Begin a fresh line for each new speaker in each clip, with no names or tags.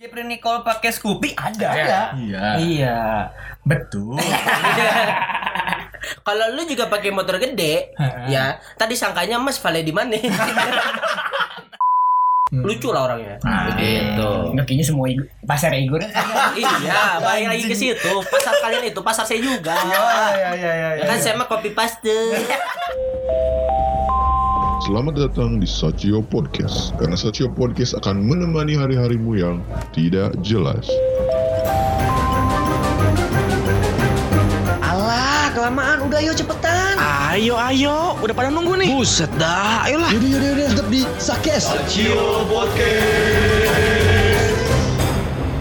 Jepri Nicole pakai Scoopy ada.
Ada.
Iya.
Iya.
Betul.
Kalau lu juga pakai motor gede, ya tadi sangkanya Mas Vale di mana? Hmm. Lucu lah orangnya.
Ah.
Nah,
Begitu.
Ngekinya gitu. semua igu- pasar Igor.
iya, balik lagi ke situ. Pasar kalian itu pasar saya juga.
Iya iya
Ya
iya.
kan saya mah copy paste.
Selamat datang di Sachio Podcast Karena Sachio Podcast akan menemani hari-harimu yang tidak jelas
Alah, kelamaan. Udah yuk cepetan.
Ayo, ayo, udah pada nunggu nih. Buset dah, ayolah.
Yaudah, yaudah, yaudah. Tetap di Sakes.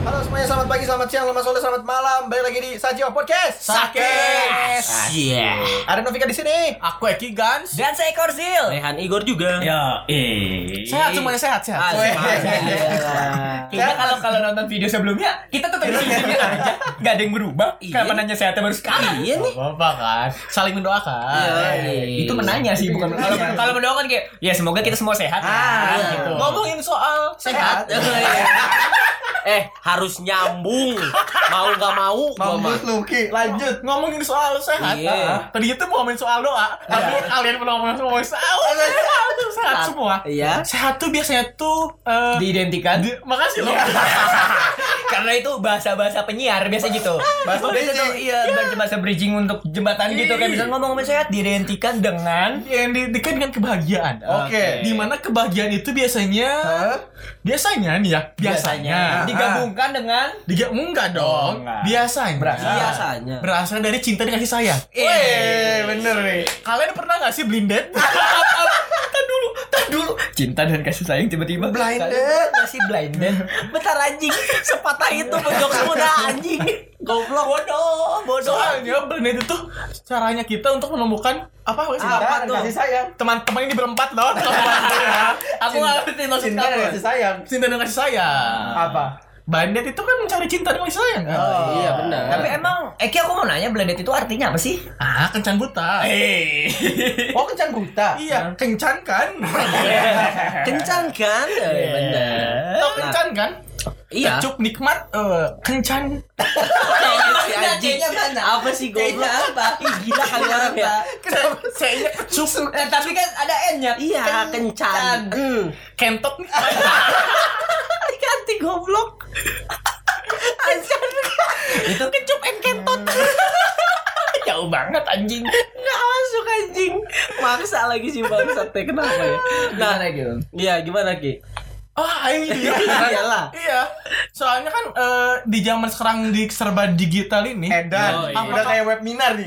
Halo semuanya, selamat pagi, selamat siang, selamat sore, selamat malam. Balik lagi di Sajio Podcast.
Sakes.
Iya.
Ada Novika di sini.
Aku Eki Gans dan saya Korzil.
Rehan Igor juga.
Ya, eh.
Sehat semuanya, sehat,
Ah,
sehat.
sama
Weh.
aja.
Kita Iya. kalau kalau nonton video sebelumnya kita tetap di sini aja, nggak ada yang berubah.
Iya.
Kenapa nanya sehatnya baru sekali?
Iya nih.
Apa kan? Saling mendoakan.
Iya.
Itu menanya sih, bukan kalau
Iya.
kalau mendoakan kayak ya semoga kita semua sehat.
Ah,
ya,
iya.
gitu.
Ngomongin soal
sehat. eh harus nyambung mau nggak mau gua mah
Mampus Luki, lanjut. Ngomongin soal sehat.
Iya.
Ah. Tadi itu mau ngomongin soal doa, tapi kalian mau ngomongin soal soal sehat. Sehat semua.
Iya.
Sehat tuh biasanya tuh eh,
Diidentikan
di- makasih loh.
karena itu bahasa-bahasa penyiar biasa gitu.
Bahasa
Bahasa
bridging.
Iya, bahasa bridging untuk
Iya,
jembatan gitu kayak bisa ngomong sama sehat diidentikan dengan
Yang di- dekat dengan kebahagiaan. Eh,
Oke.
Di mana kebahagiaan itu biasanya biasanya nih ya, biasanya.
digabungkan dengan
Diga enggak
Oh,
dong.
enggak.
Biasanya.
biasanya
Berasal dari cinta dan kasih sayang.
Eh, bener nih.
Kalian pernah nggak sih blinded?
Tahan dulu, tahan dulu. Cinta dan kasih sayang tiba-tiba
Blinded.
masih blinded.
bentar anjing sepatah itu pojok udah anjing goblok bodoh bodoh
Soalnya blinded itu caranya kita untuk menemukan apa sih?
Apa
Dan
tuh?
Kasih sayang.
Teman-teman ini berempat loh. teman-teman ya. Aku nggak ngerti maksud
Cinta dan
kamu.
kasih sayang.
Cinta dan kasih sayang.
Apa?
Bandit itu kan mencari cinta dan kasih sayang kan?
iya benar
Tapi emang Eki aku mau nanya blinded itu artinya apa sih?
Ah, kencan buta.
Oh, kencan buta.
Iya, kencan kan?
Iya.
kencang kan
Iya,
Eh, bener
Tau kencan kan?
iya
Cup nikmat, eh, kencan.
Iya,
Si anjing. apa sih goblok apa Ih,
Iya,
gila kali orang ya
Kenapa? Saya kecup.
Eh,
tapi kan ada N-nya.
iya kencan Hmm.
Kentot nih.
ganti goblok Anjir. itu kecup and kentot
Jauh banget anjing.
nggak masuk anjing maksa lagi si bangsat teh kenapa ya nah
Gimana gitu?
iya gimana ki
Ah, iya.
iyalah
Iya. Soalnya kan eh, di zaman sekarang di serba digital ini.
Eh,
Edan.
Oh, iya.
Udah kayak webinar nih.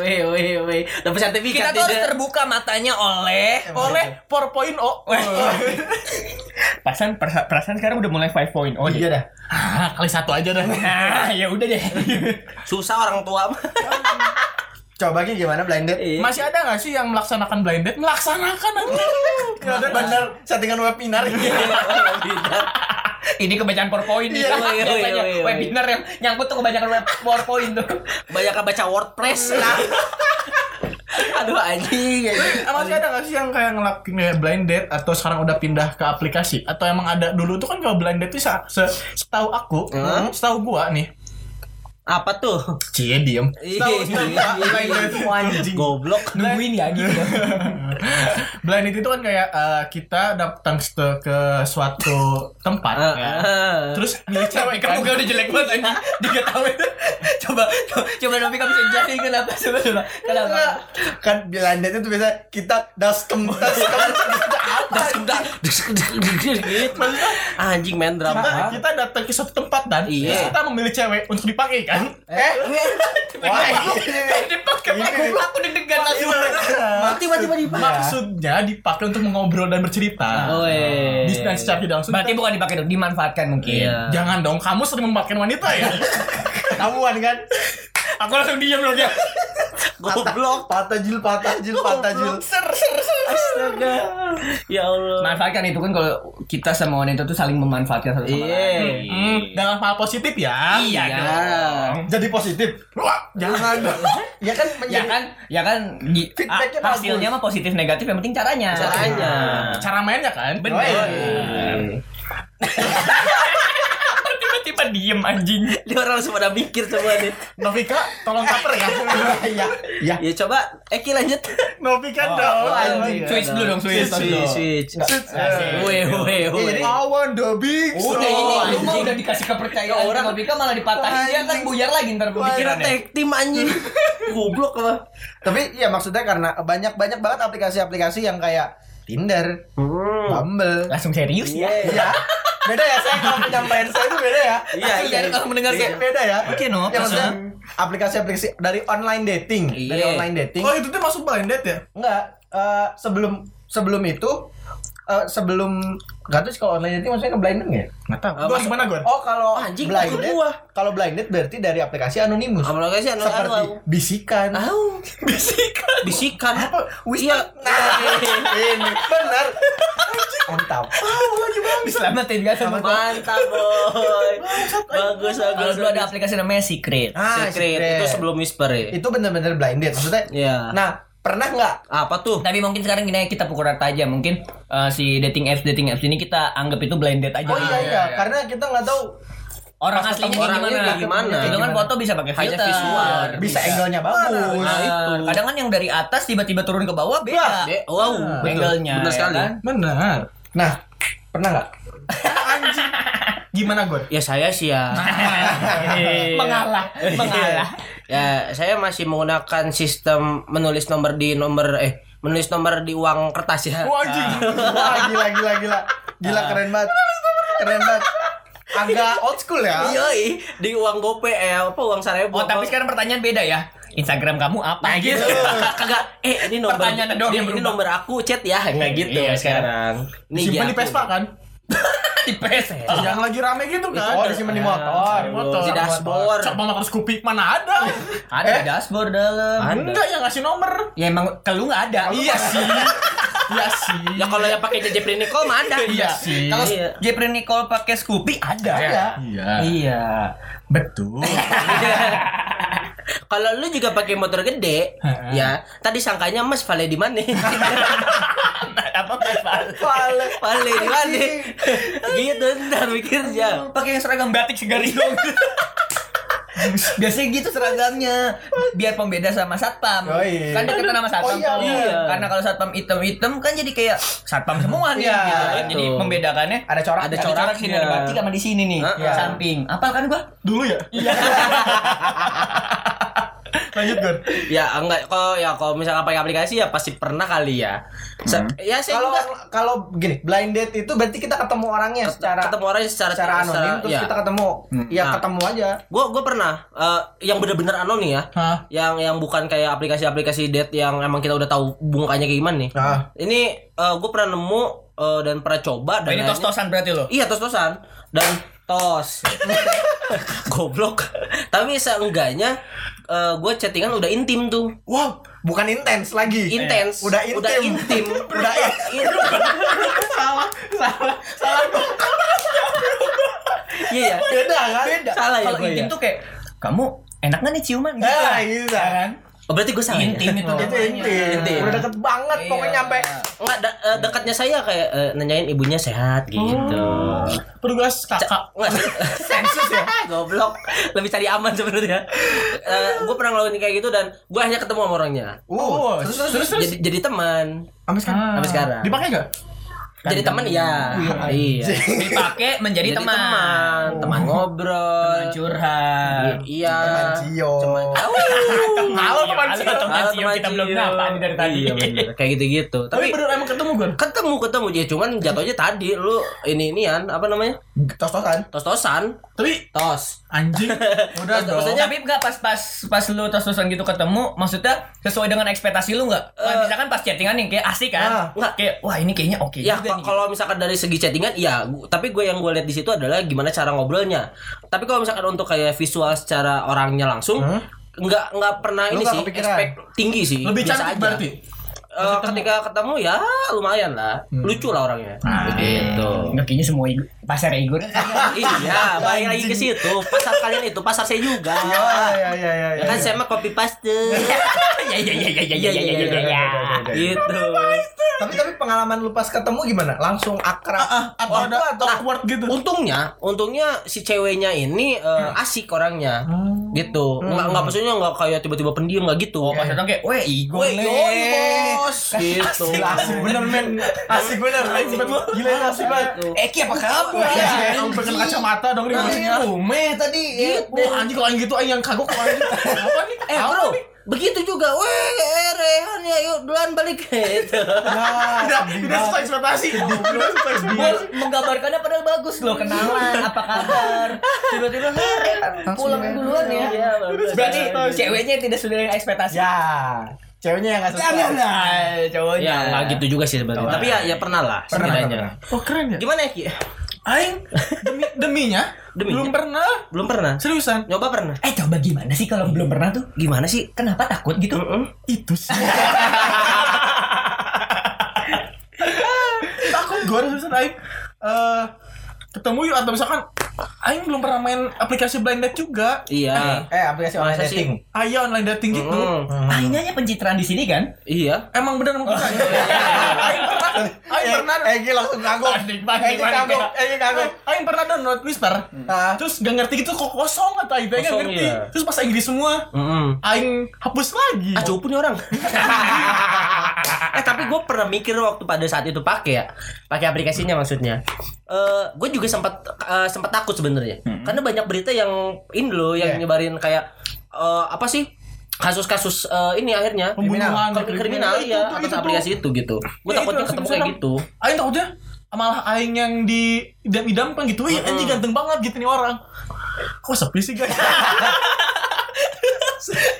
Weh, weh, weh. Dapat sertifikat
Kita tuh harus
tidak?
terbuka matanya oleh
oleh 4.0 Eh,
perasaan perasaan sekarang udah mulai 5.0
iya dah ah, kali satu aja dah
Nah, ya udah deh.
susah orang tua mah.
Coba Ki, gimana blinded?
Iya.
masih ada nggak sih yang melaksanakan blind date melaksanakan aja Iya,
Gak ada Iya, bener settingan webinar
Ah, Ini kebanyakan PowerPoint nih.
Iya,
Biasanya
iya, iya, iya.
Webinar yang nyangkut tuh kebanyakan web- PowerPoint tuh.
banyak baca wordpress aduh anjing anjing.
Eh, masih ada nggak sih yang kayak ngelakuin kayak blind date atau sekarang udah pindah ke aplikasi atau emang ada dulu tuh kan kalau blind date tuh sa- se- setahu aku setahu gua nih
apa tuh
cie diem
Iya, anjing goblok
Nungguin ya gitu.
blind date itu kan kayak eh, kita datang ke- ke suatu tempat ya. terus milih cewek kan
Muka udah jelek banget anjing. Tiga tahun. coba co- coba Novi kamu bisa jelasin kenapa coba coba. Kenapa?
Kan blinded itu biasa kita daskem daskem
gitu anjing main
kita,
drama
kita datang ke suatu tempat dan
Iya.
terus kita memilih cewek untuk dipakai kan
Iya.
Eh? Wah ini
Dipakai
Iya.
aku aku deg-degan langsung.
tiba-tiba di
Iya.
maksudnya dipakai untuk mengobrol dan bercerita
Oh, iya,
Woi.
di dan secara tidak langsung
Berarti bukan dipakai dong, dimanfaatkan mungkin.
Iya.
jangan dong kamu sering memakai wanita ya
ketahuan kan
aku langsung diam loh dia
goblok.
patah jil patah jil patah jil
Astaga. Ya Allah.
Manfaatkan itu kan kalau kita sama wanita tuh saling memanfaatkan satu sama
Iya.
lain.
Hmm, dalam hal positif ya
Iya. dong.
jadi positif
Wah,
jangan ya kan
Iya
Ya
menjadi
kan, ya kan di-
Feedbacknya
ah, hasilnya mah positif negatif yang penting caranya. Nah.
Caranya.
cara mainnya kan
Oh,
Bener.
iya.
diem anjing.
Ini orang langsung pada mikir semua nih.
Novika, tolong cover ya. Iya. Iya.
Ya coba, Eki lanjut. Oh,
Novika
kan
Oh,
dong.
anjing.
Switch dulu dong, switch.
Switch, switch. Weh, weh, weh.
I want the big
Udah ini,
Oh,
song.
lu mah udah dikasih kepercayaan
Orang-
orang Mika malah dipatahin dia kan buyar lagi ntar
Kira
pemikirannya.
tag team anjing. Goblok apa?
Tapi ya maksudnya karena banyak banyak banget aplikasi-aplikasi yang kayak Tinder, Bumble.
Langsung serius ya.
Iya. Beda ya saya kalau penyampaian saya itu beda ya.
Iya, iya.
Dari kalau mendengar kayak
Beda ya.
Oke, no,
Ya, maksudnya aplikasi-aplikasi dari online dating, dari
Iya.
online dating.
Oh itu tuh masuk blind date ya?
Enggak, eh, sebelum sebelum itu eh, sebelum enggak tahu sih kalau online dating maksudnya ke blind date nggak ya?
Nggak tahu. Gua gimana gua?
Oh, kalau
Anjing,
blind
aku
date-
gua.
Kalau blind date berarti dari aplikasi anonimus.
Aplikasi anonimus. Ah.
Seperti bisikan.
Au. Bisikan. Bisikan. Iya.
Nah,
Nah.
Ini benar. Mantap.
diselamatin kan sama gua.
Mantap, boy. Bagus,
Kalau
bagus.
dulu ada aplikasi namanya Secret.
Ah,
Secret. Itu sebelum whisper ya.
itu benar-benar blind date maksudnya.
Iya.
Nah, pernah nggak
Apa tuh?
Tapi mungkin sekarang gini aja, kita pukul rata aja mungkin eh, si dating apps dating apps ini kita anggap itu blind date aja.
Oh iya, iya, karena kita nggak tahu
Orang aslinya kayak
orangnya
gimana?
kayak gimana.
Itu kan foto bisa pakai
Hanya
filter.
visual.
Nah, bisa angle-nya bagus.
Nah, itu.
Nah, kadang kan yang dari atas tiba-tiba turun ke bawah beda.
Be- Wow,
Angle-nya,
Benar
ya
sekali.
kan?
Benar.
Nah, pernah nggak?
Gimana gua?
Ya saya sih ya. Iya.
Mengalah, mengalah.
Ya, saya masih menggunakan sistem menulis nomor di nomor eh menulis nomor di uang kertas ya.
Wah anjing.
Wah, gila gila gila. Gila keren banget. Keren banget. Agak old school ya.
Ah. Yoi, di uang gope eh apa uang sarebo.
Oh,
apa?
tapi sekarang pertanyaan beda ya. Instagram kamu apa
Nah,
gitu?
kagak eh ini nomor
Pertanyaannya doang
ini,
yang
ini
berubah.
nomor aku chat ya kayak gitu
Iya,
sekarang. Ini
Simpan
dia
di
aku.
Vespa kan?
Di PS.
Yang lagi rame gitu kan? Iya.
Oh, disimpan di motor.
Di motor.
Di dashboard.
Cok malah harus kupik mana ada?
Ada di dashboard dalam.
Enggak yang ngasih nomor.
Ya emang ke lu nggak ada. Iya sih.
Iya sih.
Ya kalau yang pakai JJ Prinicol mah ada.
Iya sih.
Kalau
Iya.
Jepri Nicole pakai Scoopy ada.
Iya. Iya.
Iya. Eh,
Betul.
Kalau lu juga pakai
Iya.
motor gede, ya tadi sangkanya Mas Vale di mana?
Apa Mas Fal?
Vale, Vale di mana?
Iya.
gitu ntar mikirnya.
Pakai yang seragam batik segari dong. Biasanya gitu seragamnya Biar pembeda sama satpam
Yoi.
Kan deket nama
Oh,
satpam
iya,
tuh.
iya.
Karena kalau satpam item-item Kan jadi kayak satpam semua nih
Iya,
gitu kan.
betul.
Jadi membedakannya
Ada corak.
Ada
Ada
corak iya.
corak sini ada batik sama di sini nih
Heeh.
Samping Apa kan gua?
Dulu ya? Lanjut Gon.
Ya enggak kalau ya kalau misalnya pakai aplikasi ya pasti pernah kali ya. Se-
Hmm.
Ya saya
Kalau
juga
kalau gini, blind date itu berarti kita ketemu orangnya secara
ketemu orang secara
secara anonim terus
ya.
kita ketemu. Ya
Nah.
ketemu aja.
Gue gue pernah eh, yang bener-bener anonim ya.
Hah?
Yang yang bukan kayak aplikasi-aplikasi date yang emang kita udah tahu bungkanya kayak gimana nih.
Ah.
Ini gue pernah nemu eh, dan pernah coba dan
Oh, Ini
akhirnya-
tos-tosan berarti lo
Iya tos-tosan dan tos. Goblok. Tapi seenggaknya gue chattingan udah intim tuh.
Wow, bukan intens lagi.
Iya. Intens.
Iya. Udah
Udah
intim.
intim.
Udah in-
Iya. ya.
beda kan?
Beda.
Salah ya
Kalau
gua
intim
ya?
tuh kayak kamu enak gak nih ciuman gitu.
Eh, Iya.
Nah, gitu kan.
Oh, berarti gue salah. ya?
Intim itu
Itu
namanya.
intim.
Intim.
Udah deket banget
Iya.
pokoknya sampai
Enggak de- eh, dekatnya saya kayak eh, nanyain ibunya sehat gitu.
Petugas kakak.
Enggak sensus ya. Goblok. Lebih cari aman sebenarnya. gue pernah ngelakuin kayak gitu dan gue hanya ketemu sama orangnya.
Oh, terus terus terus.
Jadi jadi teman.
Sampai sekarang.
kan?
Ah.
Sampai sekarang.
Dipakai gak?
Jadi teman ya. Iya.
Dipakai menjadi
Jadi
teman.
teman, teman ngobrol.
Teman curhat.
I- Iya.
Cio.
Au.
Halo teman Nah,
Halo,
Cio.
teman
Halo,
Cio,
teman
kita
Cio.
belum nyapa nih dari tadi.
Iya bener. Kayak gitu-gitu.
Tapi
Tapi
bener emang ketemu Gon.
ketemu ketemu dia cuman jatuhnya tadi lu ini inian apa namanya?
Tos-tosan.
Tos-tosan.
Tapi
Tos.
anjing. Udah dong.
Maksudnya tapi enggak pas pas pas lu tos-tosan gitu ketemu, maksudnya sesuai dengan ekspektasi lu enggak?
Eh.
Kan bisa kan pas chattingan yang kayak asik kan?
Enggak.
Kayak wah ini kayaknya
Ah.
oke
gitu
Ya
juga
pa-
nih.
kalau misalkan dari segi chattingan ya gu- tapi gue yang gue lihat di situ adalah gimana cara ngobrolnya. Tapi kalau misalkan untuk kayak visual secara orangnya langsung nggak nggak pernah
Lu
ini
nggak
sih
kepikiran?
expect tinggi sih.
Lebih
biasa
cantik
aja.
berarti.
Eh, ketika ketemu ya lumayan lah. Lucu lah orangnya. Begitu.
Enggak, Gitu. kayaknya semua igu- pasar Igor.
iya, balik lagi ke situ. Pasar kalian itu pasar saya juga.
Iya, iya, iya, iya.
kan saya mah copy paste.
Ya ya ya ya ya ya ya ya ya.
Gitu.
tapi tapi pengalaman lu pas ketemu gimana? Langsung akrab
Ah,
atau ada
atau
nah.
awkward gitu
Untungnya, untungnya si ceweknya ini eh,
Hmm.
asik orangnya. Gitu. Enggak enggak maksudnya enggak kayak tiba-tiba pendiam enggak gitu.
Oh, pas datang kayak, weh Igo
Weh,
nih."
yoi, bos.
Kan
Gitu.
asik bener men. Asik bener. Gila ini asik banget.
Gitu.
Eki apa kabar?
Iya, yang pakai kacamata dong nih maksudnya.
Rumeh tadi.
Wah, anjing kalau yang gitu anjing yang kagok kalau anjing. Apa nih?
Eh, bro, begitu juga. Weh, eh, Rehan ya, yuk duluan balik gitu.
Tidak, tidak sesuai ekspektasi. Tidak sesuai ekspektasi.
menggambarkannya padahal bagus loh kenalan apa kabar tiba-tiba "Hei, pulang duluan ya
Iya, bagus.
berarti ceweknya tidak sesuai dengan ekspektasi
Ya. Ceweknya yang
Ya,
enggak sesuai.
Eh,
cowoknya
Ya, enggak gitu juga sih sebenarnya. Tapi ya ya pernah lah
Pernah,
setidaknya.
pernah.
Oh, keren ya.
Gimana ya, Ki?
Aing demi deminya
Deminya.
belum pernah.
Belum pernah.
Seriusan?
Nyoba pernah.
eh coba gimana sih kalau belum pernah tuh
Gimana sih?
kenapa takut gitu
Itu sih. Takut gue seriusan Aing. Eh, ketemu yuk atau misalkan Aing belum pernah main aplikasi blind date juga.
Iya.
Eh, aplikasi online
Masa sih?
dating.
Aya online dating gitu.
Mm,
akhirnya pencitraan di sini kan Iya,
Iya.
Emang bener mungkin Aing. Aing pernah. Aing pernah.
Eh, Egi langsung Eh, kagok. Egi kagok. Egi
iya.
kagok.
eh, Aing pernah download Twister.
Mm.
Ah.
Terus gak ngerti gitu kok kosong atau Aing gak
Kosong,
ngerti.
iya.
Terus pas Aing di semua,
Mm-mm.
Aing hapus lagi.
Ah cupu nih orang. eh tapi gue pernah mikir waktu pada saat itu pakai ya, pakai aplikasinya maksudnya. Eh gue juga sempat eh, sempat takut sebenarnya, karena banyak berita yang ini loh yang nyebarin kayak eh, apa sih kasus-kasus eh, ini akhirnya
Pembunuhan,
Krim- kriminal
kriminal,
ya
itu,
atas
itu, itu.
aplikasi itu gitu. Gue
Ya,
takutnya
itu,
ketemu
langsung
kayak gitu.
Aing takutnya malah aing yang di idam idamkan gitu. Wih, anjing ganteng banget gitu nih orang. Kok sepi sih guys?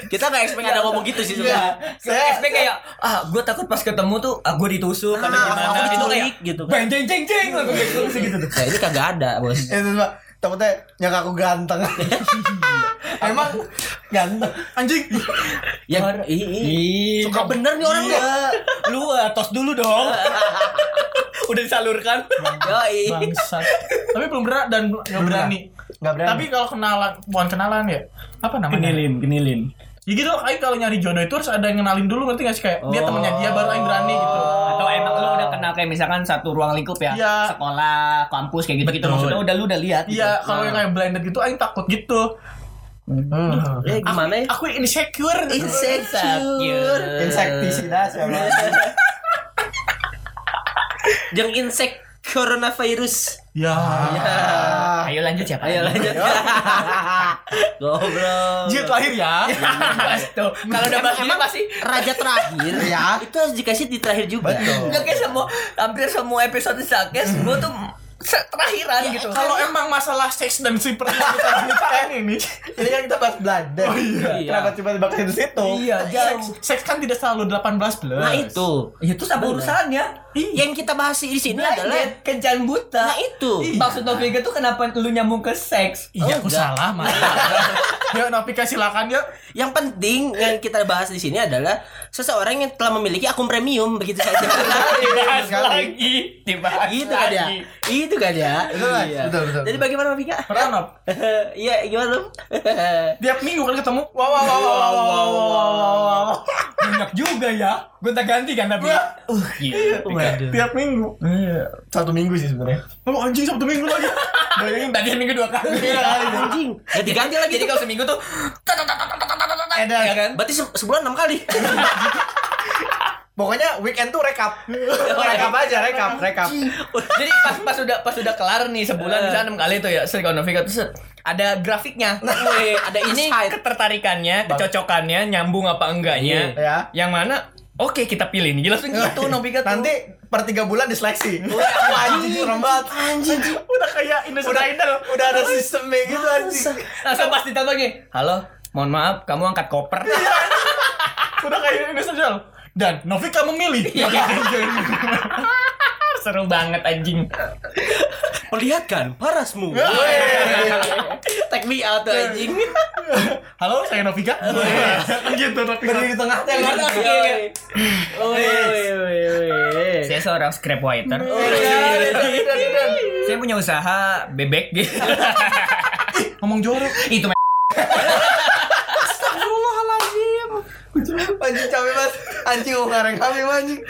Kita nggak expect ada ngomong gitu sih sebenarnya.
saya SP kayak ah gue takut pas ketemu tuh ah gue ditusuk atau gimana
aku
itu
diculik,
kayak
gitu kan.
bang jeng jeng jeng langsung kayak gitu tuh
Ya, ini kagak ada bos.
Itu Pak. Takutnya nyangka aku ganteng. Emang ganteng.
Anjing.
Ya, i- i- suka bener nih orang ya.
lu
ah,
eh, tos dulu dong udah disalurkan
Yoi.
Bangsat. Tapi belum pernah dan nggak berani.
Enggak berani.
Tapi kalau kenalan, bukan kenalan ya. Apa namanya?
Kan. kenilin
Ya gitu, Aing kalau nyari jodoh itu harus ada yang kenalin dulu ngerti gak sih kayak dia temennya dia baru Aing berani gitu.
atau emang lu udah kenal kayak misalkan satu ruang lingkup ya,
Iya.
sekolah kampus kayak gitu gitu maksudnya udah lu udah lihat gitu.
Iya, kalau yang kayak blinded gitu Aing takut gitu.
Hmm.
Ya gimana ya?
Aku insecure. Iya.
Insecure.
Insektisidas ya. Bang.
Yang insek coronavirus.
Iya.
Ya.
ah,
ayo lanjut siapa
Ayo lanjut. Goblok.
Jilid lahir ya.
Iya, tuh kalau udah bahas ini pasti
Raja terakhir
Ya.
itu harus dikasih di terakhir juga.
Betul.
nggak kayak semua hampir semua episode sakes gue tuh se- terakhiran gitu
Kalau emang masalah seks dan si pernikahan ini,
Ini kan kita bahas Belanda. Oh,
iya.
Kenapa tiba-tiba ke situ?
iya jauh
seks, seks kan tidak selalu 18 plus.
Nah itu Iya,
ya terus apa urusannya
yang kita bahas di sini adalah
Blinded, iya, kencan buta Iya,
nah itu.
maksud Noviga tuh kenapa lu nyambung ke seks
Iya,
Oh,
aku
enggak.
salah, Mas. Yuk, Nopika silakan yuk.
Yang penting yang kita bahas di sini adalah seseorang yang telah memiliki akun premium begitu saja.
Iya,
Dibahas
lagi dibahas
Itu kan ya. Itu kan ya.
Betul, Mas. Betul, betul,
Jadi
betul.
bagaimana Vika?
Pernah, Nop?
Iya, gimana lu?
Tiap minggu kan ketemu. Wow, wow, wow, wow, wow, wow, wow, wow, wow.
banyak juga ya gonta ganti kan tapi uh gila
Waduh.
Tiap minggu.
Satu minggu sih sebenarnya.
Oh, anjing Sabtu minggu lagi.
bayangin tadi minggu dua kali
Iya. Anjing. Ya diganti lagi
jadi
tuh.
kalau seminggu tuh
Edan.
ya kan
Berarti se- sebulan 6 kali.
Pokoknya weekend tuh rekap. rekap aja, rekap, rekap.
jadi pas pas udah pas udah kelar nih sebulan bisa enam kali tuh ya Sri Novika tuh set, ada grafiknya
Wih, ada
ini
insight.
ketertarikannya kecocokannya nyambung apa enggaknya
Iya. Ya.
yang mana oke kita pilih nih langsung gitu Novika tuh
Nanti per tiga bulan diseleksi. Wah, anjing serem banget. Anjing.
Udah kayak Indonesian Idol.
Udah ada sistemnya gitu anjing.
langsung pasti ditambah gini halo mohon maaf kamu angkat koper
Udah kayak Indonesian Idol. Dan Novika memilih.
Iya. seru banget anjing
Perlihatkan parasmu. Take me out tuh, anjing.
Halo, saya Novika.
iya.
gitu, Novika.
Berdiri di tengah tengah.
Woi, woi, woi.
saya seorang scrap waiter
Oh,
Iya,
iya,
saya punya usaha bebek gitu
Ngomong jorok.
itu
Anjing capek banget. anjing ngareng kami anjing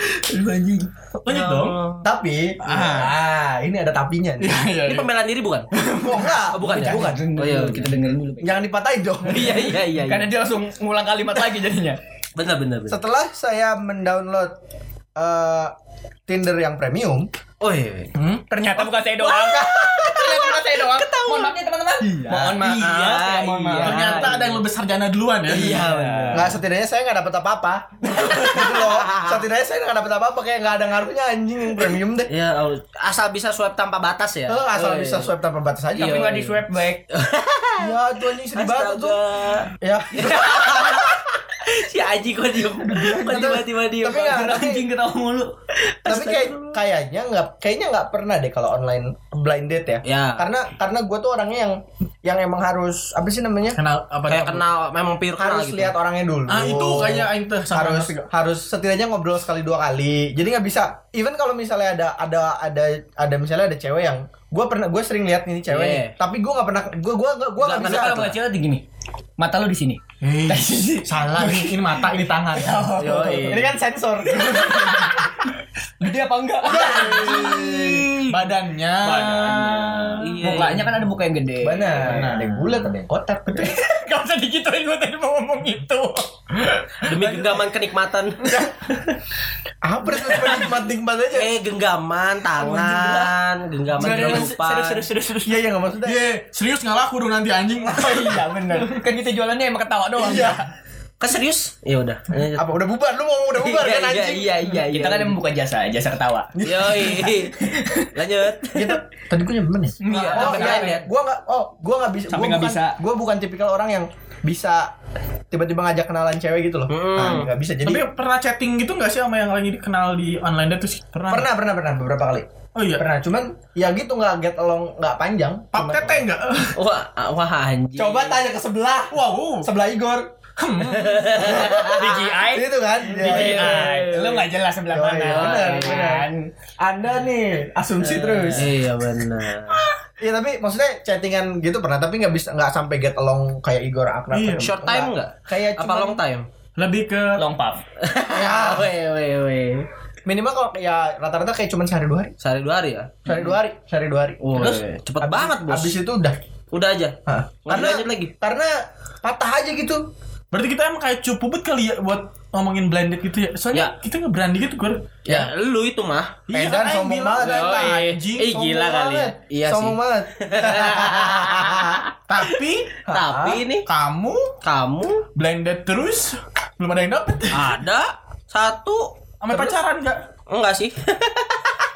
Lanjut dong.
tapi ah ini ada tapinya nih
Iya,
Ini pembelaan diri bukan?
oh, enggak
Oh, bukan ya?
bukan
Oh iya, kita dengar.
jangan dipatahin dong
Iya, iya, iya. iya.
Karena dia langsung ngulang kalimat lagi jadinya.
Benar, benar, benar.
setelah saya mendownload eh, Tinder yang premium
Oh iya.
Hmm?
Ternyata bukan saya doang. Ternyata bukan saya doang. Mohon maaf ya teman-teman.
Iya.
Mohon maaf. saya mohon maaf.
Ternyata ada yang lebih sarjana duluan ya.
Iya, benar.
nggak setidaknya saya nggak dapet apa-apa gitu loh setidaknya saya nggak dapet apa-apa kayak nggak ada ngaruhnya anjing yang premium deh
Ya, Allah. asal bisa swipe tanpa batas ya.
Eh, asal bisa swipe tanpa batas aja
Iya.
Tapi nggak di swipe back.
ya itu anjing sedih banget
Astaga. Iya,
tuh ya
si Aji kok diem. Kok tiba-tiba diem.
tapi nggak tapi,
Anjing ketawa mulu.
tapi kayak kayaknya nggak kayaknya nggak pernah deh kalau online blind date ya,
Ya.
karena karena gue tuh orangnya yang yang emang harus apa sih namanya
Kenal apa
Kayak
apa?
kenal memang pure kenal
harus
gitu.
lihat orangnya dulu
Ah itu
Oh.
kayaknya aing teh sama
harus
ngerti gak?
harus setidaknya ngobrol sekali dua kali jadi nggak bisa even kalau misalnya ada ada ada ada misalnya ada cewek yang gue pernah gue sering lihat nih cewek
Yeah.
nih, tapi gue nggak pernah gue gue gue nggak
Karena
bisa
kalau nggak cewek gini. Mata lu di sini.
Hei, salah ini, ini mata ini tangan. Iya.
Yo,
ini kan sensor
Gede apa enggak?
Iya, Badannya. iya.
Mukanya kan ada muka yang gede.
mana ada yang bulat ada yang kotak
Gak usah digituin gue tadi mau ngomong
gitu.
itu.
Demi genggaman kenikmatan.
apa itu nikmat nikmat aja
eh, genggaman tangan, genggaman kehidupan.
serius serius.
iya iya nggak maksudnya
Ye, serius nggak laku dong nanti anjing.
Iya benar. Kan kita jualannya emang ketawa doang. Iya.
Kan serius? Ya udah. Lanjut.
apa udah bubar lu mau udah bubar
Iya,
kan
iya,
anjing
iya, iya, iya.
Kita kan yang membuka jasa, jasa ketawa.
Yoi. Lanjut.
gitu tadi gue nyampe mana ya
Iya.
Sampai
Oh, iya,
nggak ada.
Gua nggak, oh, gua nggak bisa.
Sampai
gua
nggak
bukan-
bisa.
Gua bukan tipikal orang yang bisa tiba-tiba ngajak kenalan cewek gitu loh. Nah, nggak bisa. Jadi
Tapi pernah chatting gitu nggak sih sama yang lagi dikenal di online date tuh sih? Pernah.
pernah, pernah, pernah beberapa kali.
Oh iya.
Pernah. Cuman ya gitu nggak get along, nggak panjang.
Pap
Cuman- Iya,
tete enggak?
Wah, wah anjing.
Coba tanya ke sebelah.
Wow.
Sebelah Igor.
DJI.
Gitu kan? Ya, iya.
DJI. Lu nggak jelas sebelah
Oh
Yo,
mana.
iya, benar,
kan?
benar. Anda nih asumsi terus.
Iya benar.
Iya tapi maksudnya chattingan gitu pernah tapi nggak bisa nggak sampai get along kayak Igor akrab.
Iya.
Short time enggak?
Kayak
Apa
cuman-
long time?
Lebih ke
Long puff.
Ya,
Weh, weh, weh.
minimal kalau ya rata-rata kayak cuman sehari dua hari.
Sehari dua hari ya?
Sehari dua hari, sehari dua hari.
Woi, cepet
abis-
banget bos.
Abis itu udah.
Udah aja.
Hah.
Nggak dilanjut lagi.
Karena patah aja gitu.
Berarti kita emang kayak cupu bet kali ya buat ngomongin blended gitu ya.
Ya.
Soalnya kita nggak berani gitu, Gor.
Ya, lu itu mah.
Iya, Edan sombong banget.
Yoi.
anjing,
Ih,
sombong
gila kali. ya.
banget.
Iya sih.
Sombong banget.
Tapi
Tapi ini
kamu
kamu
blended terus belum ada yang dapet.
ada satu
Sama pacaran enggak?
enggak sih?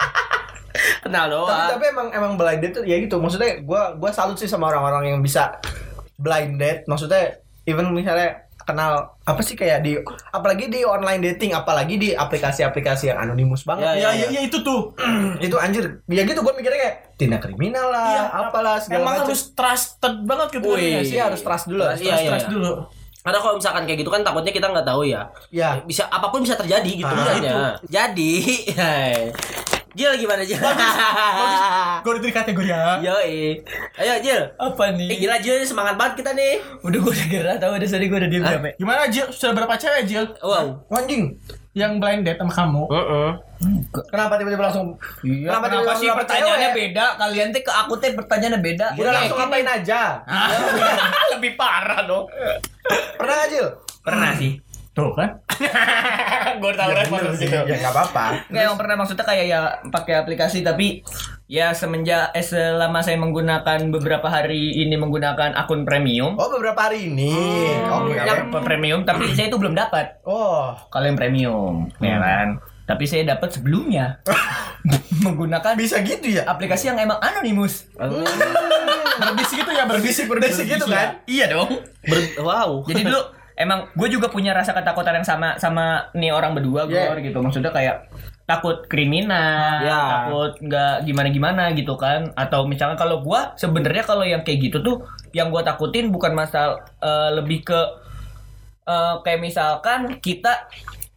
Kenal
tapi,
doang.
tapi emang emang blind date tuh ya gitu. Maksudnya gua gua salut sih sama orang-orang yang bisa blind date. Maksudnya even misalnya kenal apa sih kayak di apalagi di online dating apalagi di aplikasi-aplikasi yang anonimus banget
Ya,
Ya,
ya.
ya, ya itu tuh.
itu anjir ya gitu gue mikirnya kayak tindak kriminal lah
Iya,
apalah segala
Emang
macam
harus trusted banget gitu. kan,
Wih.
ya
sih harus trust dulu harus
Iya,
Trust,
iya.
trust dulu.
Karena kalau misalkan kayak gitu kan takutnya kita nggak tahu ya.
Ya.
Bisa apapun bisa terjadi gitu
Ah,
misalnya. Jadi, Jil gimana Jil?
Gue dari kategori ya.
Yoi. Ayo Jil.
Apa
Eh
nih?
gila Jil semangat banget kita nih.
Udah gue udah gerah tau udah tadi gue udah diem capek.
Gimana Jil? Sudah berapa cewek Jil
Wow.
anjing
yang blind date sama kamu?
kenapa tiba-tiba langsung
Iya, Kenapa,
tiba-tiba
sih
langsung
pertanyaannya Iya,
cewek?
beda? Kalian teh ke aku teh pertanyaannya beda.
udah langsung ngapain aja
Lebih parah dong.
pernah gak Jil?
Pernah sih.
Tuh kan?
gue tahu respon
Bener sih,
gitu.
ya nggak apa-apa
Nggak yang pernah maksudnya kayak ya pakai aplikasi tapi ya semenjak eh, selama saya menggunakan beberapa hari ini menggunakan akun premium.
oh beberapa hari ini oke nggak
Hmm. yang
apa-apa.
premium tapi saya itu belum dapat.
oh
Kalau yang premium, ya
Hmm.
kan? Tapi saya dapat sebelumnya menggunakan
bisa gitu ya
aplikasi yang emang anonimus.
Berbisik gitu ya, berbisik, berbisik
gitu kan
Iya dong.
Ber- wow.
Jadi dulu emang gue juga punya rasa ketakutan yang sama sama nih orang berdua gue
Yeah.
gitu. Maksudnya kayak takut kriminal,
Ya.
takut nggak gimana-gimana gitu kan. Atau misalkan kalau gue sebenarnya kalau yang kayak gitu tuh yang gue takutin bukan masalah eh, lebih ke eh, kayak misalkan kita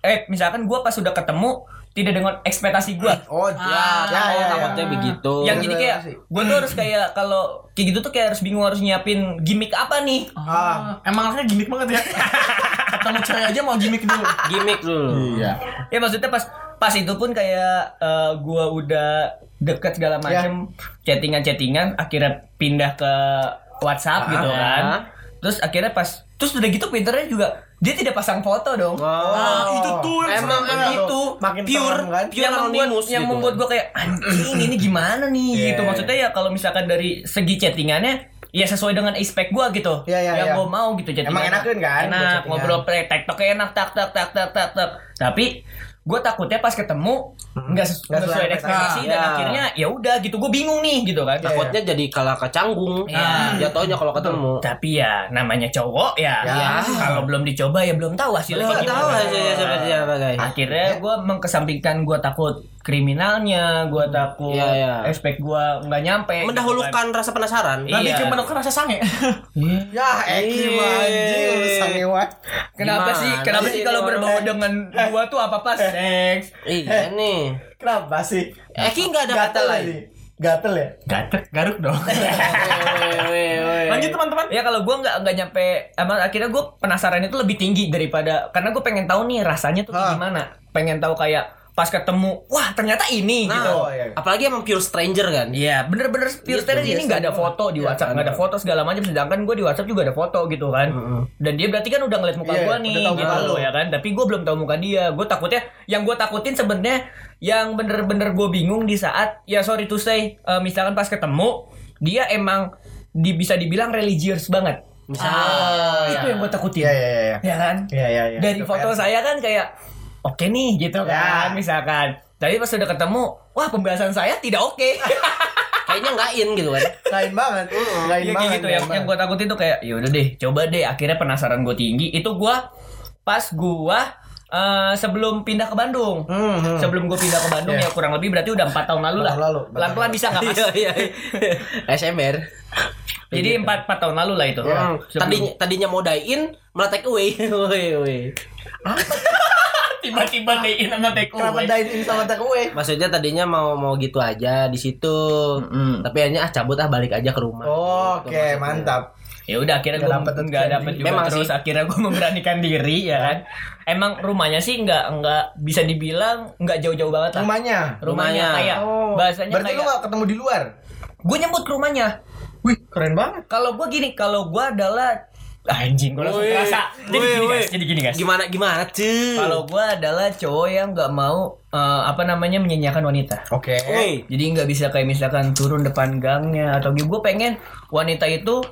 eh misalkan gue pas sudah ketemu tidak dengan ekspektasi gua
Oh, ya, ya, ya,
takutnya begitu.
yang jadi kayak
Bener iya, sih.
gue tuh harus kayak kalau kayak gitu tuh kayak harus bingung harus nyiapin gimmick apa nih
Ah,
Emang anaknya gimmick banget ya. Ketemu cewek aja mau gimmick dulu.
gimmick dulu.
Iya.
ya maksudnya pas pas itu pun kayak eh, gua udah deket segala macem chattingan chattingan akhirnya pindah ke WhatsApp gitu kan terus akhirnya pas terus udah gitu pinternya juga dia tidak pasang foto dong
Oh.
Itu tuh yang
Emang
serem.
itu
Makin
pure
terang kan?
pure
yang membuat
anonymous
yang
gitu.
membuat gue kayak anjing ini gimana nih gitu
Iya,
maksudnya ya kalau misalkan dari segi chattingannya ya sesuai dengan expect gue gitu
Iya, iya,
yang
iya.
gue mau gitu jadi
Emang enakan kan buat
enak
chattingan?
ngobrol pre tiktok enak tak tak tak tak tak tak tapi gue takutnya pas ketemu nggak ses-
Nggak sesuai
nggak sesuai
Ah, iya.
ekspektasi
ekspektasi.
dan
Ya.
akhirnya ya udah gitu gue bingung nih gitu kan
takutnya jadi kalah kecanggung.
Iya.
Ya taunya kalau ketemu.
tapi ya namanya cowok ya,
Ya.
kalau belum dicoba ya belum tahu hasilnya
Belum
kayak
tahu
gimana.
hasilnya seperti apa, guys.
akhirnya
ya.
gue mengkesampingkan gue takut kriminalnya gue takut
Iya, iya.
expect gue nggak nyampe
Mendahulukan rasa penasaran.
Nanti
Iya.
gitu kan. iya.
Rasa sange.
ya, Eki mah anjing, lu sange wat.
kenapa
Gimana
sih kenapa
sih
sih
ini
kalau
orang? gitu?
berbau dengan gua tuh apa pas seks
Iya nih.
Kenapa sih?
Eki nggak ada kata
Gatel
lain.
lagi. Gatel ya?
Nah.
Gatek, garuk dong.
Iya,
lanjut teman-teman ya kalau gue nggak nggak nyampe emang akhirnya gue penasaran itu lebih tinggi daripada karena gue pengen tahu nih rasanya tuh kayak gimana pengen tahu kayak pas ketemu wah ternyata ini
Nah,
gitu
Oh, iya.
apalagi emang pure stranger kan.
Iya, bener-bener pure steril ini nggak ada
Iya,
foto di WhatsApp, nggak ada foto segala macam. Sedangkan gue di WhatsApp juga ada foto gitu kan. Dan dia berarti kan udah ngeliat muka
Iya,
gue
udah
nih,
tahu
gitu
muka lu.
loh ya kan. Tapi gue belum tahu muka dia. Gue takutnya, yang gue takutin sebenarnya, yang bener-bener gue bingung di saat, ya sorry to say, eh, misalkan pas ketemu, dia emang di, bisa dibilang religius banget. Ah, itu yang gue takutin.
Iya, iya, iya, iya.
Ya kan?
Iya, iya, iya.
Dari
Itu PR.
foto saya kan kayak oke nih gitu
Ya.
kan misalkan. Tapi pas udah ketemu, wah pembahasan saya tidak oke.
Kayaknya nggak in gitu kan.
lain banget. Lain
Iya kayak
banget.
gitu
lain
yang,
banget.
yang gue takutin tuh kayak yaudah deh coba deh akhirnya penasaran gue tinggi itu gue pas gue eh, sebelum pindah ke Bandung
Hmm,
sebelum gue pindah ke Bandung ya kurang lebih berarti udah empat tahun lalu
Iya.
lah
Tahun lalu,
pelan pelan bisa nggak mas
Iya iya. SMR.
gitu.
jadi empat empat tahun lalu lah itu
Iya.
Sebelum-
Tadinya tadinya mau die in, malah take away. Hmm, Woi woi.
Tiba-tiba day in sama
Eh,
Oh,
take
Kenapa
away.
dine in sama takeaway?
Maksudnya tadinya mau mau gitu aja di situ. Tapi akhirnya ah cabut ah balik aja ke rumah. Gitu
Oke, mantap.
ya udah akhirnya
Nggak
gue
dapet
nggak
terjadi.
dapet juga
Memang
terus
sih.
akhirnya gue memberanikan diri ya kan
Iya.
emang rumahnya sih nggak nggak bisa dibilang nggak jauh jauh banget lah
Rumahnya.
rumahnya
Rumahnya.
kayak
Oh,
bahasanya
berarti lu
kayak
gak ketemu di luar?
gue nyebut ke rumahnya
Wih, keren banget.
Kalau gua gini, kalau gua adalah ah, anjing gua langsung
Woi,
terasa. Jadi
woi,
gini
woi.
guys, jadi gini guys.
Gimana gimana cuy?
Kalau gua adalah cowok yang nggak mau eh, apa namanya menyanyiakan wanita.
Oke.
Woi.
Jadi nggak bisa kayak misalkan turun depan gangnya atau gitu. Gue pengen wanita itu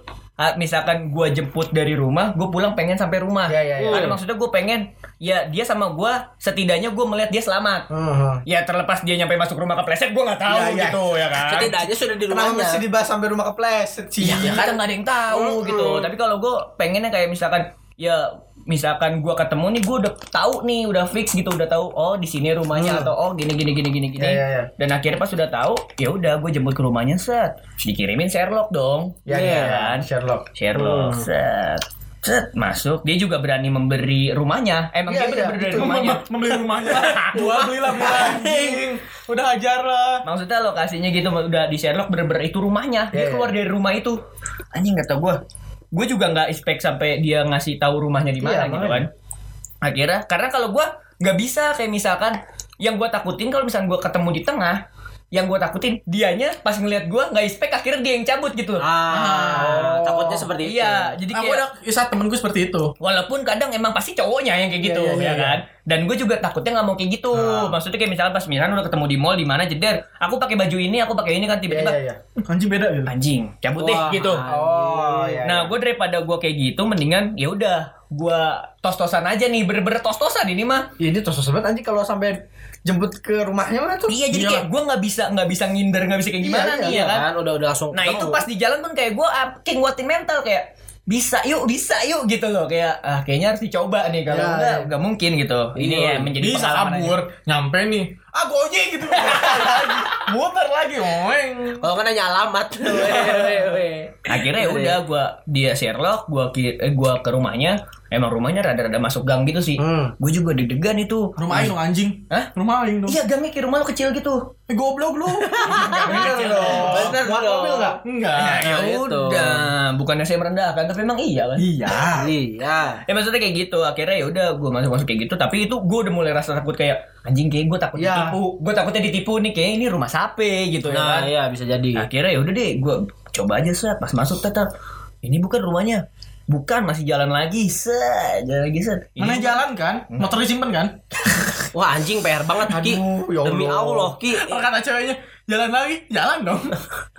ah, misalkan gua jemput dari rumah, gue pulang pengen sampai rumah.
Iya, iya, iya.
Ada maksudnya gue pengen ya dia sama gua setidaknya gue melihat dia selamat.
Mhm.
Ya terlepas dia nyampe masuk rumah kepleset gua nggak tahu
Iya, iya.
gitu ya kan.
Setidaknya sudah di
Kenapa
rumahnya.
mesti dibahas sampai rumah kepleset sih?
Iya ya, kan nggak ada yang tahu gitu. Tapi kalau gue pengennya kayak misalkan ya misalkan gue ketemu nih gue udah tahu nih udah fix gitu udah tahu oh di sini rumahnya atau oh gini gini gini gini gini
Ya, ya, ya.
dan akhirnya pas udah tahu ya udah gue jemput ke rumahnya set dikirimin Sherlock dong
Ya, ya,
Iya Mm.
ya.
kan?
Sherlock.
Sherlock set set masuk dia juga berani memberi rumahnya emang
Iya,
dia bener-bener
iya,
dari rumahnya
Membeli rumahnya. Ah, Gua belilah gua anjing. Udah hajar lah.
maksudnya lokasinya gitu udah di Sherlock bener-bener itu rumahnya dia
Iya,
keluar dari rumah itu anjing kata gue gue juga nggak expect sampai dia ngasih tahu rumahnya di mana
Iya,
gitu kan akhirnya karena kalau gue nggak bisa kayak misalkan yang gue takutin kalau misalkan gue ketemu di tengah yang gue takutin dianya pas ngelihat gue nggak expect akhirnya dia yang cabut gitu
Ah, takutnya seperti itu.
iya jadi
Aku
kayak-
ada kisah temenku seperti itu.
Walaupun kadang emang pasti cowoknya yang kayak gitu, ya kan? Dan gue juga takutnya nggak mau kayak gitu. Maksudnya kayak misalnya pas misalnya udah ketemu di mall di mana jeder, aku pakai baju ini, aku pakai ini kan tiba-tiba
Iya, iya, iya.
Anjing beda gitu.
anjing, cabut deh
Wah,
gitu.
Oh, iya.
Nah, gue daripada gue kayak gitu, mendingan ya udah gue tos-tosan aja nih, bener-bener tos-tosan ini mah.
Ya, ini tos banget anjing kalau sampai jemput ke rumahnya mana tuh?
Iya, jadi kayak gue nggak bisa nggak bisa ngindar, nggak bisa kayak gimana
Iya,
nih
iya,
ya kan?
kan udah udah langsung
Nah itu pas di jalan pun kayak gue king kuatin ah, mental kayak bisa yuk bisa yuk gitu loh kayak ah kayaknya harus dicoba nih kalau
Ya,
enggak
ya.
enggak mungkin gitu ini ya menjadi
bisa
pengalaman aja.
kabur nyampe nih ah gojek gitu muter lagi muter lagi oeng
Kalau kan nanya alamat.
akhirnya ya udah gua dia Sherlock gua ki- eh, gua ke rumahnya emang rumahnya rada-rada masuk gang gitu sih
Hmm.
gua juga deg-degan itu
rumah aing dong anjing
Iya. Hah?
rumah aing dong
iya gangnya kayak rumah lo kecil gitu
Eh, goblok lu
Bener dong.
Iya, Bener dong. Nah,
Muat
gitu.
mobil nggak?
enggak
ya
itu.
udah bukannya saya merendahkan tapi memang iya kan
iya
Iya.
Ya maksudnya kayak gitu Akhirnya ya udah gue masuk-masuk kayak gitu Tapi itu gue udah mulai rasa takut kayak Anjing kayak gue takut
Ya.
ditipu Gue takutnya ditipu nih Kayaknya ini rumah sape gitu ya
Nah,
kan
iya bisa jadi.
Akhirnya ya udah deh gue coba aja set Pas masuk tetap Ini bukan rumahnya Bukan masih jalan lagi Set Jalan lagi set Ini
mana
bukan-
jalan kan
Hmm.
motor disimpan kan
Wah, anjing PR banget Ki.
Aduh, ya
Demi Allah
Allah.
Ki.
Kalau kata ceweknya jalan lagi jalan dong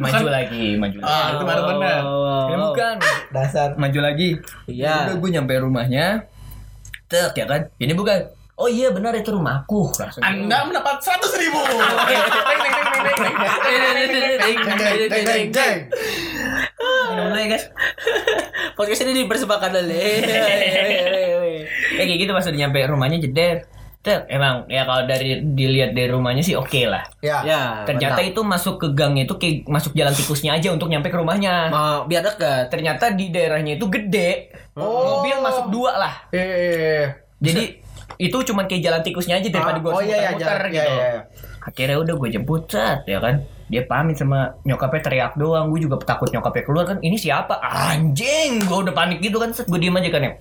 Maju lagi Maju lagi
ah itu baru bener
Ya Kan
Oh.
bukan
Dasar.
Maju lagi
Iya.
Udah gue nyampe rumahnya Tek ya kan Ini bukan Oh iya benar itu rumahku Langsung
anda mendapat seratus ribu
Nah, minum dulu ya guys
Podcast ini dipersembahkan oleh.
ya kayak gitu pas udah nyampe rumahnya jeder Tek, emang ya kalau dari dilihat dari rumahnya sih oke lah.
Ya.
Ya. mantap.
Ternyata Kan itu masuk ke gang itu kayak masuk jalan tikusnya aja untuk nyampe ke rumahnya.
mau biar dekat.
Ternyata di daerahnya itu gede.
Oh.
Mobil masuk dua lah.
Eh.
Jadi itu cuman kayak jalan tikusnya aja daripada
Ah,
gua
oh,
harus
iya, iya,
muter-muter
jalan-
gitu.
iya, iya.
Akhirnya udah gue jemput set ya kan. Dia pamit sama nyokapnya teriak doang. Gue juga takut nyokapnya keluar kan. Ini siapa? Anjing. Gue udah panik gitu kan. Set gue diem aja kan ya.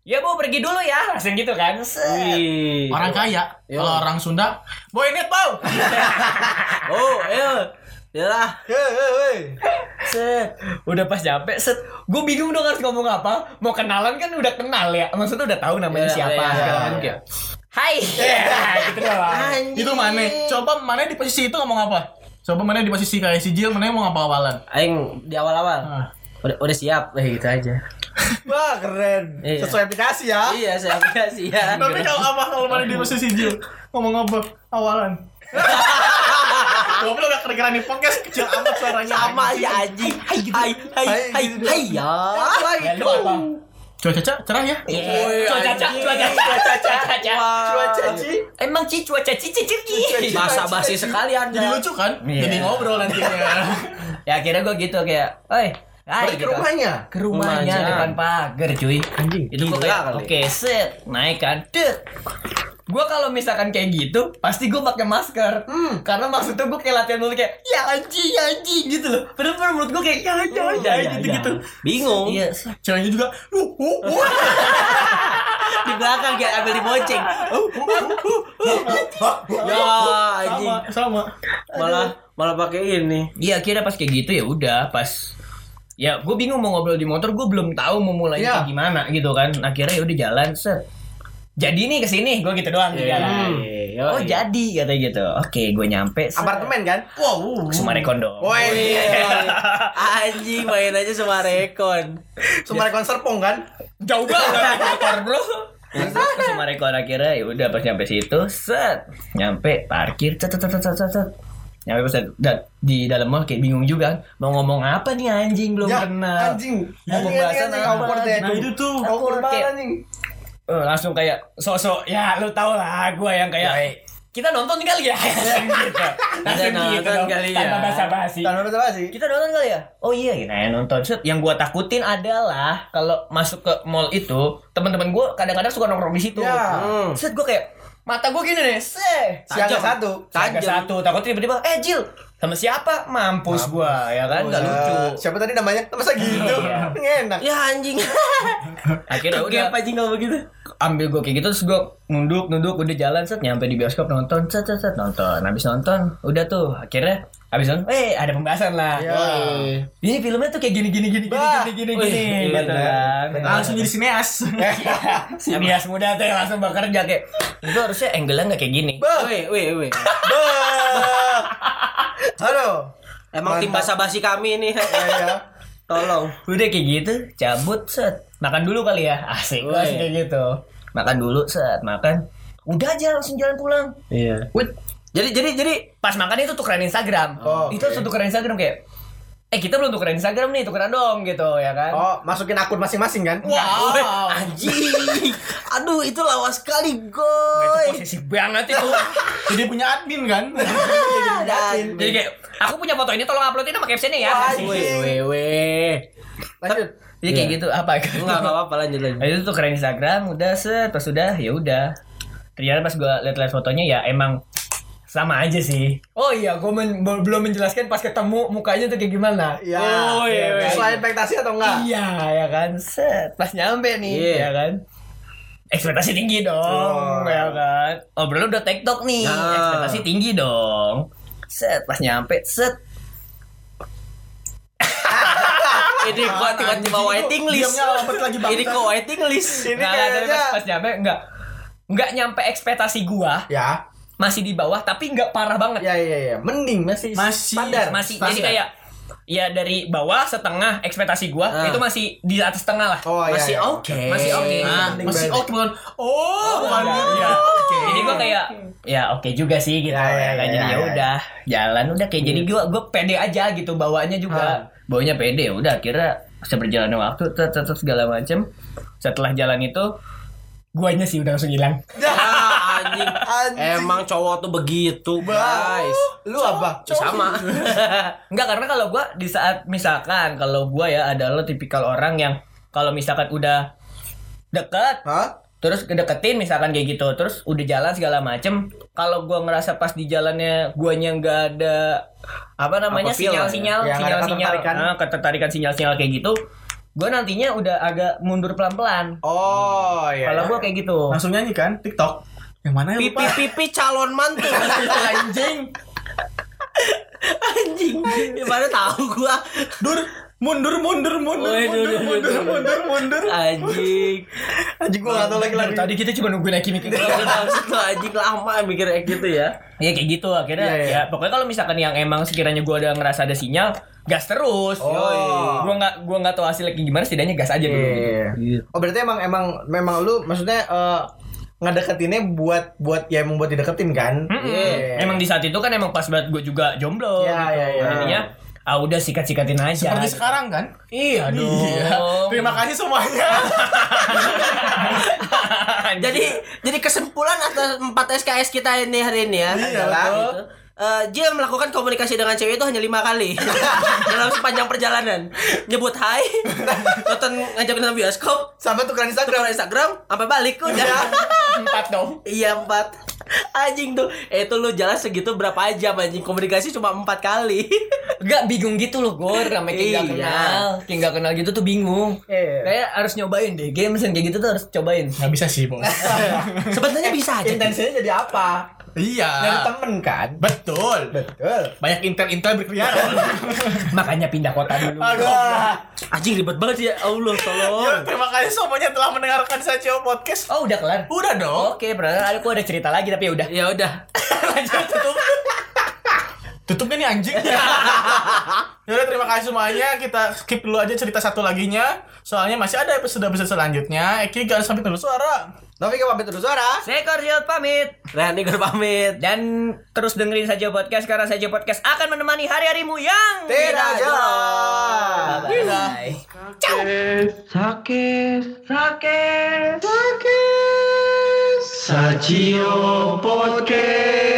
Ya bu pergi dulu ya. Langsung gitu kan. Set.
Wih.
orang kaya kalau orang Sunda boy net bau
Oh, ayo. Yalah.
Hei, hei, hei.
set. Udah pas nyampe set. Gue bingung dong harus ngomong apa. Mau kenalan kan udah kenal ya. Maksudnya udah tahu namanya
Iya,
siapa.
iya,
segala
iya.
macam kayak, Hai. gitu doang.
itu mana coba mana di posisi itu ngomong apa coba mana di posisi kayak si Jill mana mau ngapa awalan Ah.
Aing di awal-awal. Udah, udah siap, eh gitu aja.
Wah, keren.
Iya.
Sesuai aplikasi ya.
iya, saya kasih ya.
tapi kalau apa kalau mana di posisi Jill ngomong apa awalan Goblok udah kedengeran di podcast kecil amat suaranya
Sama ya anjing. Hai, hai, hai, hai, hai ya.
Ya lu apa?
Cuaca cerah ya
Oh, iya,
Cuaca, cuaca, cuaca, cuaca, cuaca.
Cuaca, Ci.
Emang ci cuaca ci ci ci, ci.
Bahasa basi sekali
jadi
Anda.
lucu kan
Iya.
jadi ngobrol nantinya
Ya akhirnya gue gitu kayak, "Oi, hai."
Pergi ke
gitu.
rumahnya.
Ke rumahnya
Rumahnya.
depan pagar, cuy. Anjing. Itu gue
gila
kayak,
kali.
"Oke, set, naik kan." Dek. Gue kalau misalkan kayak gitu, pasti gue pakai masker. Karena maksudnya gue kayak latihan dulu kayak, "Ya anjing, ya anjing" gitu loh. Padahal menurut gue kayak, "Ya, ya,
Oh,
ya" gitu-gitu.
Bingung.
Iya,
ceweknya juga "Uh, uh, uh."
Di belakang dia ambil di bonceng. Ya anjing.
sama sama
Malah malah pakai ini.
Iya akhirnya pas kayak gitu ya udah pas ya gue bingung mau ngobrol di motor gue belum tahu mau mulai
Iya.
kayak gimana gitu kan akhirnya ya udah jalan set jadi nih kesini gue gitu doang di jalan
Iya,
oh
iya.
jadi kata gitu oke gue nyampe set.
Apartemen kan?
Ke Iya. Sumarekon
Woi,
Iya. Anjing main aja sama rekon.
Sumarekon Serpong kan?
jauh banget motor bro Terus ke Sumarekon akhirnya ya udah pas nyampe situ set nyampe parkir cet cet cet cet cet, cet nyampe pas da- di dalam mall kayak bingung juga kan. mau ngomong apa nih anjing belum
Ya,
kenal
anjing.
Mau
Anjing,
pembahasan
anjing, anjing,
apa?
awkward deh.
Nah, itu tuh.
Awkward
Awkward,
banget
kayak-
anjing.
Eh, langsung kayak sosok ya lu tau lah gue yang kayak kita nonton kali ya Langsung gitu langsung
nonton
gitu dong,
kali ya.
tanpa basa-basi
Tanpa basa basi.
kita nonton kali ya oh iya gitu ya nonton Set, yang gue takutin adalah kalau masuk ke mall itu teman-teman gue kadang-kadang suka nongkrong di situ
Ya.
Hmm.
set gue kayak mata gue gini nih se
Siaga
Tajam.
satu.
Tajam.
Agak satu takut tiba-tiba eh Jil sama siapa mampus, gua ya kan nggak lucu Iya.
Eh, Siapa tadi namanya? Masa gitu? Enak.
Ya anjing.
akhirnya udah
Kayak anjing kalau begitu.
ambil gue kayak gitu terus gue nunduk nunduk udah jalan set nyampe di bioskop nonton set set set nonton habis nonton udah tuh akhirnya habis nonton eh ada pembahasan lah
Iya. Ya.
ini filmnya tuh kayak gini gini gini gini
Bah.
gini gini
Wih,
gini gitu kan
langsung jadi sineas
si bias muda tuh yang langsung bekerja kayak itu harusnya angle-nya nggak kayak gini
Oh.
Weh, weh, weh.
Bah. Halo.
Emang tim basa
Mantap.
basi kami ini.
Ya, ya.
Tolong.
udah kayak gitu cabut set makan dulu kali ya asik gua sih
Wih.
kayak gitu makan dulu set makan udah aja langsung jalan pulang
Iya. Jadi jadi jadi
pas makan itu tukeran Instagram
Oh,
itu langsung tukeran Instagram kayak eh kita belum tukeran Instagram nih tukeran dong gitu ya kan Nah,
Oh, masukin akun masing-masing kan?
Wow. Anjing. Aduh, itu lawas sekali, goy.
posesif banget itu
Jadi punya admin kan?
jadi kayak aku punya foto ini tolong uploadin sama captionnya ya
Weh, weh, weh.
Lanjut.
jadi kayak gitu apa
Enggak apa-apa lanjut lanjut.
Nah, itu tuh keren Instagram, udah set, pas udah ya udah. Ternyata pas gua liat-liat fotonya ya emang sama aja sih. Oh iya, gua men- be- belum menjelaskan pas ketemu mukanya tuh kayak gimana.
Ya.
Oh iya. iya.
Sesuai ekspektasi atau enggak?
Iya, ya kan. Set, pas nyampe nih,
Iya.
ya kan. Ekspektasi tinggi dong,
Oh.
ya kan. Oh, belum udah TikTok nih.
Nah.
Ekspektasi tinggi dong. Set, pas nyampe, set.
Ini gua tiba-tiba waiting list. Ini kok waiting list.
Ini
Nah, tapi
kayaknya
pas, pas nyampe enggak enggak nyampe ekspektasi gua.
ya.
masih di bawah tapi nggak parah banget
Ya ya ya, mending masih
Masih.
standar.
masih jadi kayak ya dari bawah setengah ekspektasi gua
Ah.
itu masih di atas setengah lah
Oh ya.
Masih
ya.
oke.
masih oke
Ah,
Mending
masih
banget.
oke bukan? Oh, bukan gitu.
Iya. jadi gua kayak ya oke juga sih gitu
Ya, ya,
ya, kan.
ya,
jadi
ya,
ya udah jalan udah kayak jadi gua gua pede aja gitu bawaannya juga bawanya pede ya udah akhirnya seberjalannya waktu tet- tet- tet, segala macem setelah jalan itu guanya sih udah langsung hilang
Ah, anjing. Emang cowok tuh begitu, guys.
Lu apa?
Ya, Sama.
Enggak karena kalau gua di saat misalkan kalau gua ya adalah tipikal orang yang kalau misalkan udah deket
Hah?
terus kedeketin misalkan kayak gitu terus udah jalan segala macem kalau gua ngerasa pas di jalannya guanya nggak ada apa namanya
Apa feel lah ya?
sinyal-sinyal
Ya, nggak ada
sinyal-sinyal
ketertarikan.
Ah, ketertarikan sinyal-sinyal kayak gitu gua nantinya udah agak mundur pelan-pelan
Oh ya.
kalau gua kayak gitu
Langsung nyanyi kan TikTok. Yang mana ya lupa?
Pipi-pipi calon mantu anjing. Anjing. Gimana tahu gua?
Dur, mundur, mundur, mundur,
Woi,
mundur,
dur,
mundur,
dur, dur,
mundur, mundur.
Anjing.
anjing gua enggak tahu lagi lagi.
tadi kita cuma nungguin Aki mikir
Kalau maksud lu anjing lama mikir kayak gitu ya.
Ya kayak gitu akhirnya
Iya, iya.
ya pokoknya kalau misalkan yang emang sekiranya gua ada ngerasa ada sinyal gas terus.
Oh.
Yoi. Gua nggak gua nggak tahu hasilnya kayak gimana setidaknya gas aja dulu. gitu.
Gitu.
Oh berarti emang emang memang lu maksudnya eh, ngedeketinnya buat buat ya emang buat dideketin kan?
Mm-mm.
Iya.
Emang di saat itu kan emang pas banget gua juga
Iya,
jomblo gitu.
iya, iya.
Jadinya ah udah sikat-sikatin aja.
Seperti sekarang kan?
Iya dong.
Terima kasih semuanya.
Jadi jadi kesimpulan atas 4 SKS kita ini hari ini ya.
Iyalah.
Gitu. Eh, Jia melakukan komunikasi dengan cewek itu hanya lima kali dalam sepanjang perjalanan. Nyebut hai, nonton ngajakin nonton bioskop,
Sampai tukeran
Instagram,
Instagram.
Instagram, sampai balik udah.
Empat dong.
iya empat. Anjing tuh, eh, itu lu jalan segitu berapa jam anjing komunikasi cuma empat kali.
Gak bingung gitu loh Gor Sama kayak gak
Iya.
kenal Kayak gak kenal gitu tuh bingung
Iya.
Kayak harus nyobain deh Games yang kayak gitu tuh harus cobain
Gak bisa sih, Bos.
Sebenarnya bisa aja.
Intensinya jadi apa? Dari
Iya.
temen kan?
Betul.
Betul.
Banyak intel-intel berkeliaran.
Makanya pindah kota dulu
Anjing ribet banget ya Allah tolong.
Yo, terima kasih semuanya telah mendengarkan Sacio Podcast.
Oh udah kelar
Udah dong.
Oke, brother, aku ada cerita lagi tapi ya udah.
Ya udah.
Lanjut tutup.
Tutupnya nih anjing. Yaudah terima kasih semuanya. Kita skip dulu aja cerita satu laginya. Soalnya masih ada episode-episode selanjutnya. Eki gak sampai dulu suara.
Novika pamit terus suara.
Saya Ziot pamit
Rani gue pamit.
dan terus dengerin saja podcast karena saja podcast akan menemani hari-harimu yang
Tidak jelas.
Bye-bye.
Sakes, sakes, sakes. Sajio Podcast.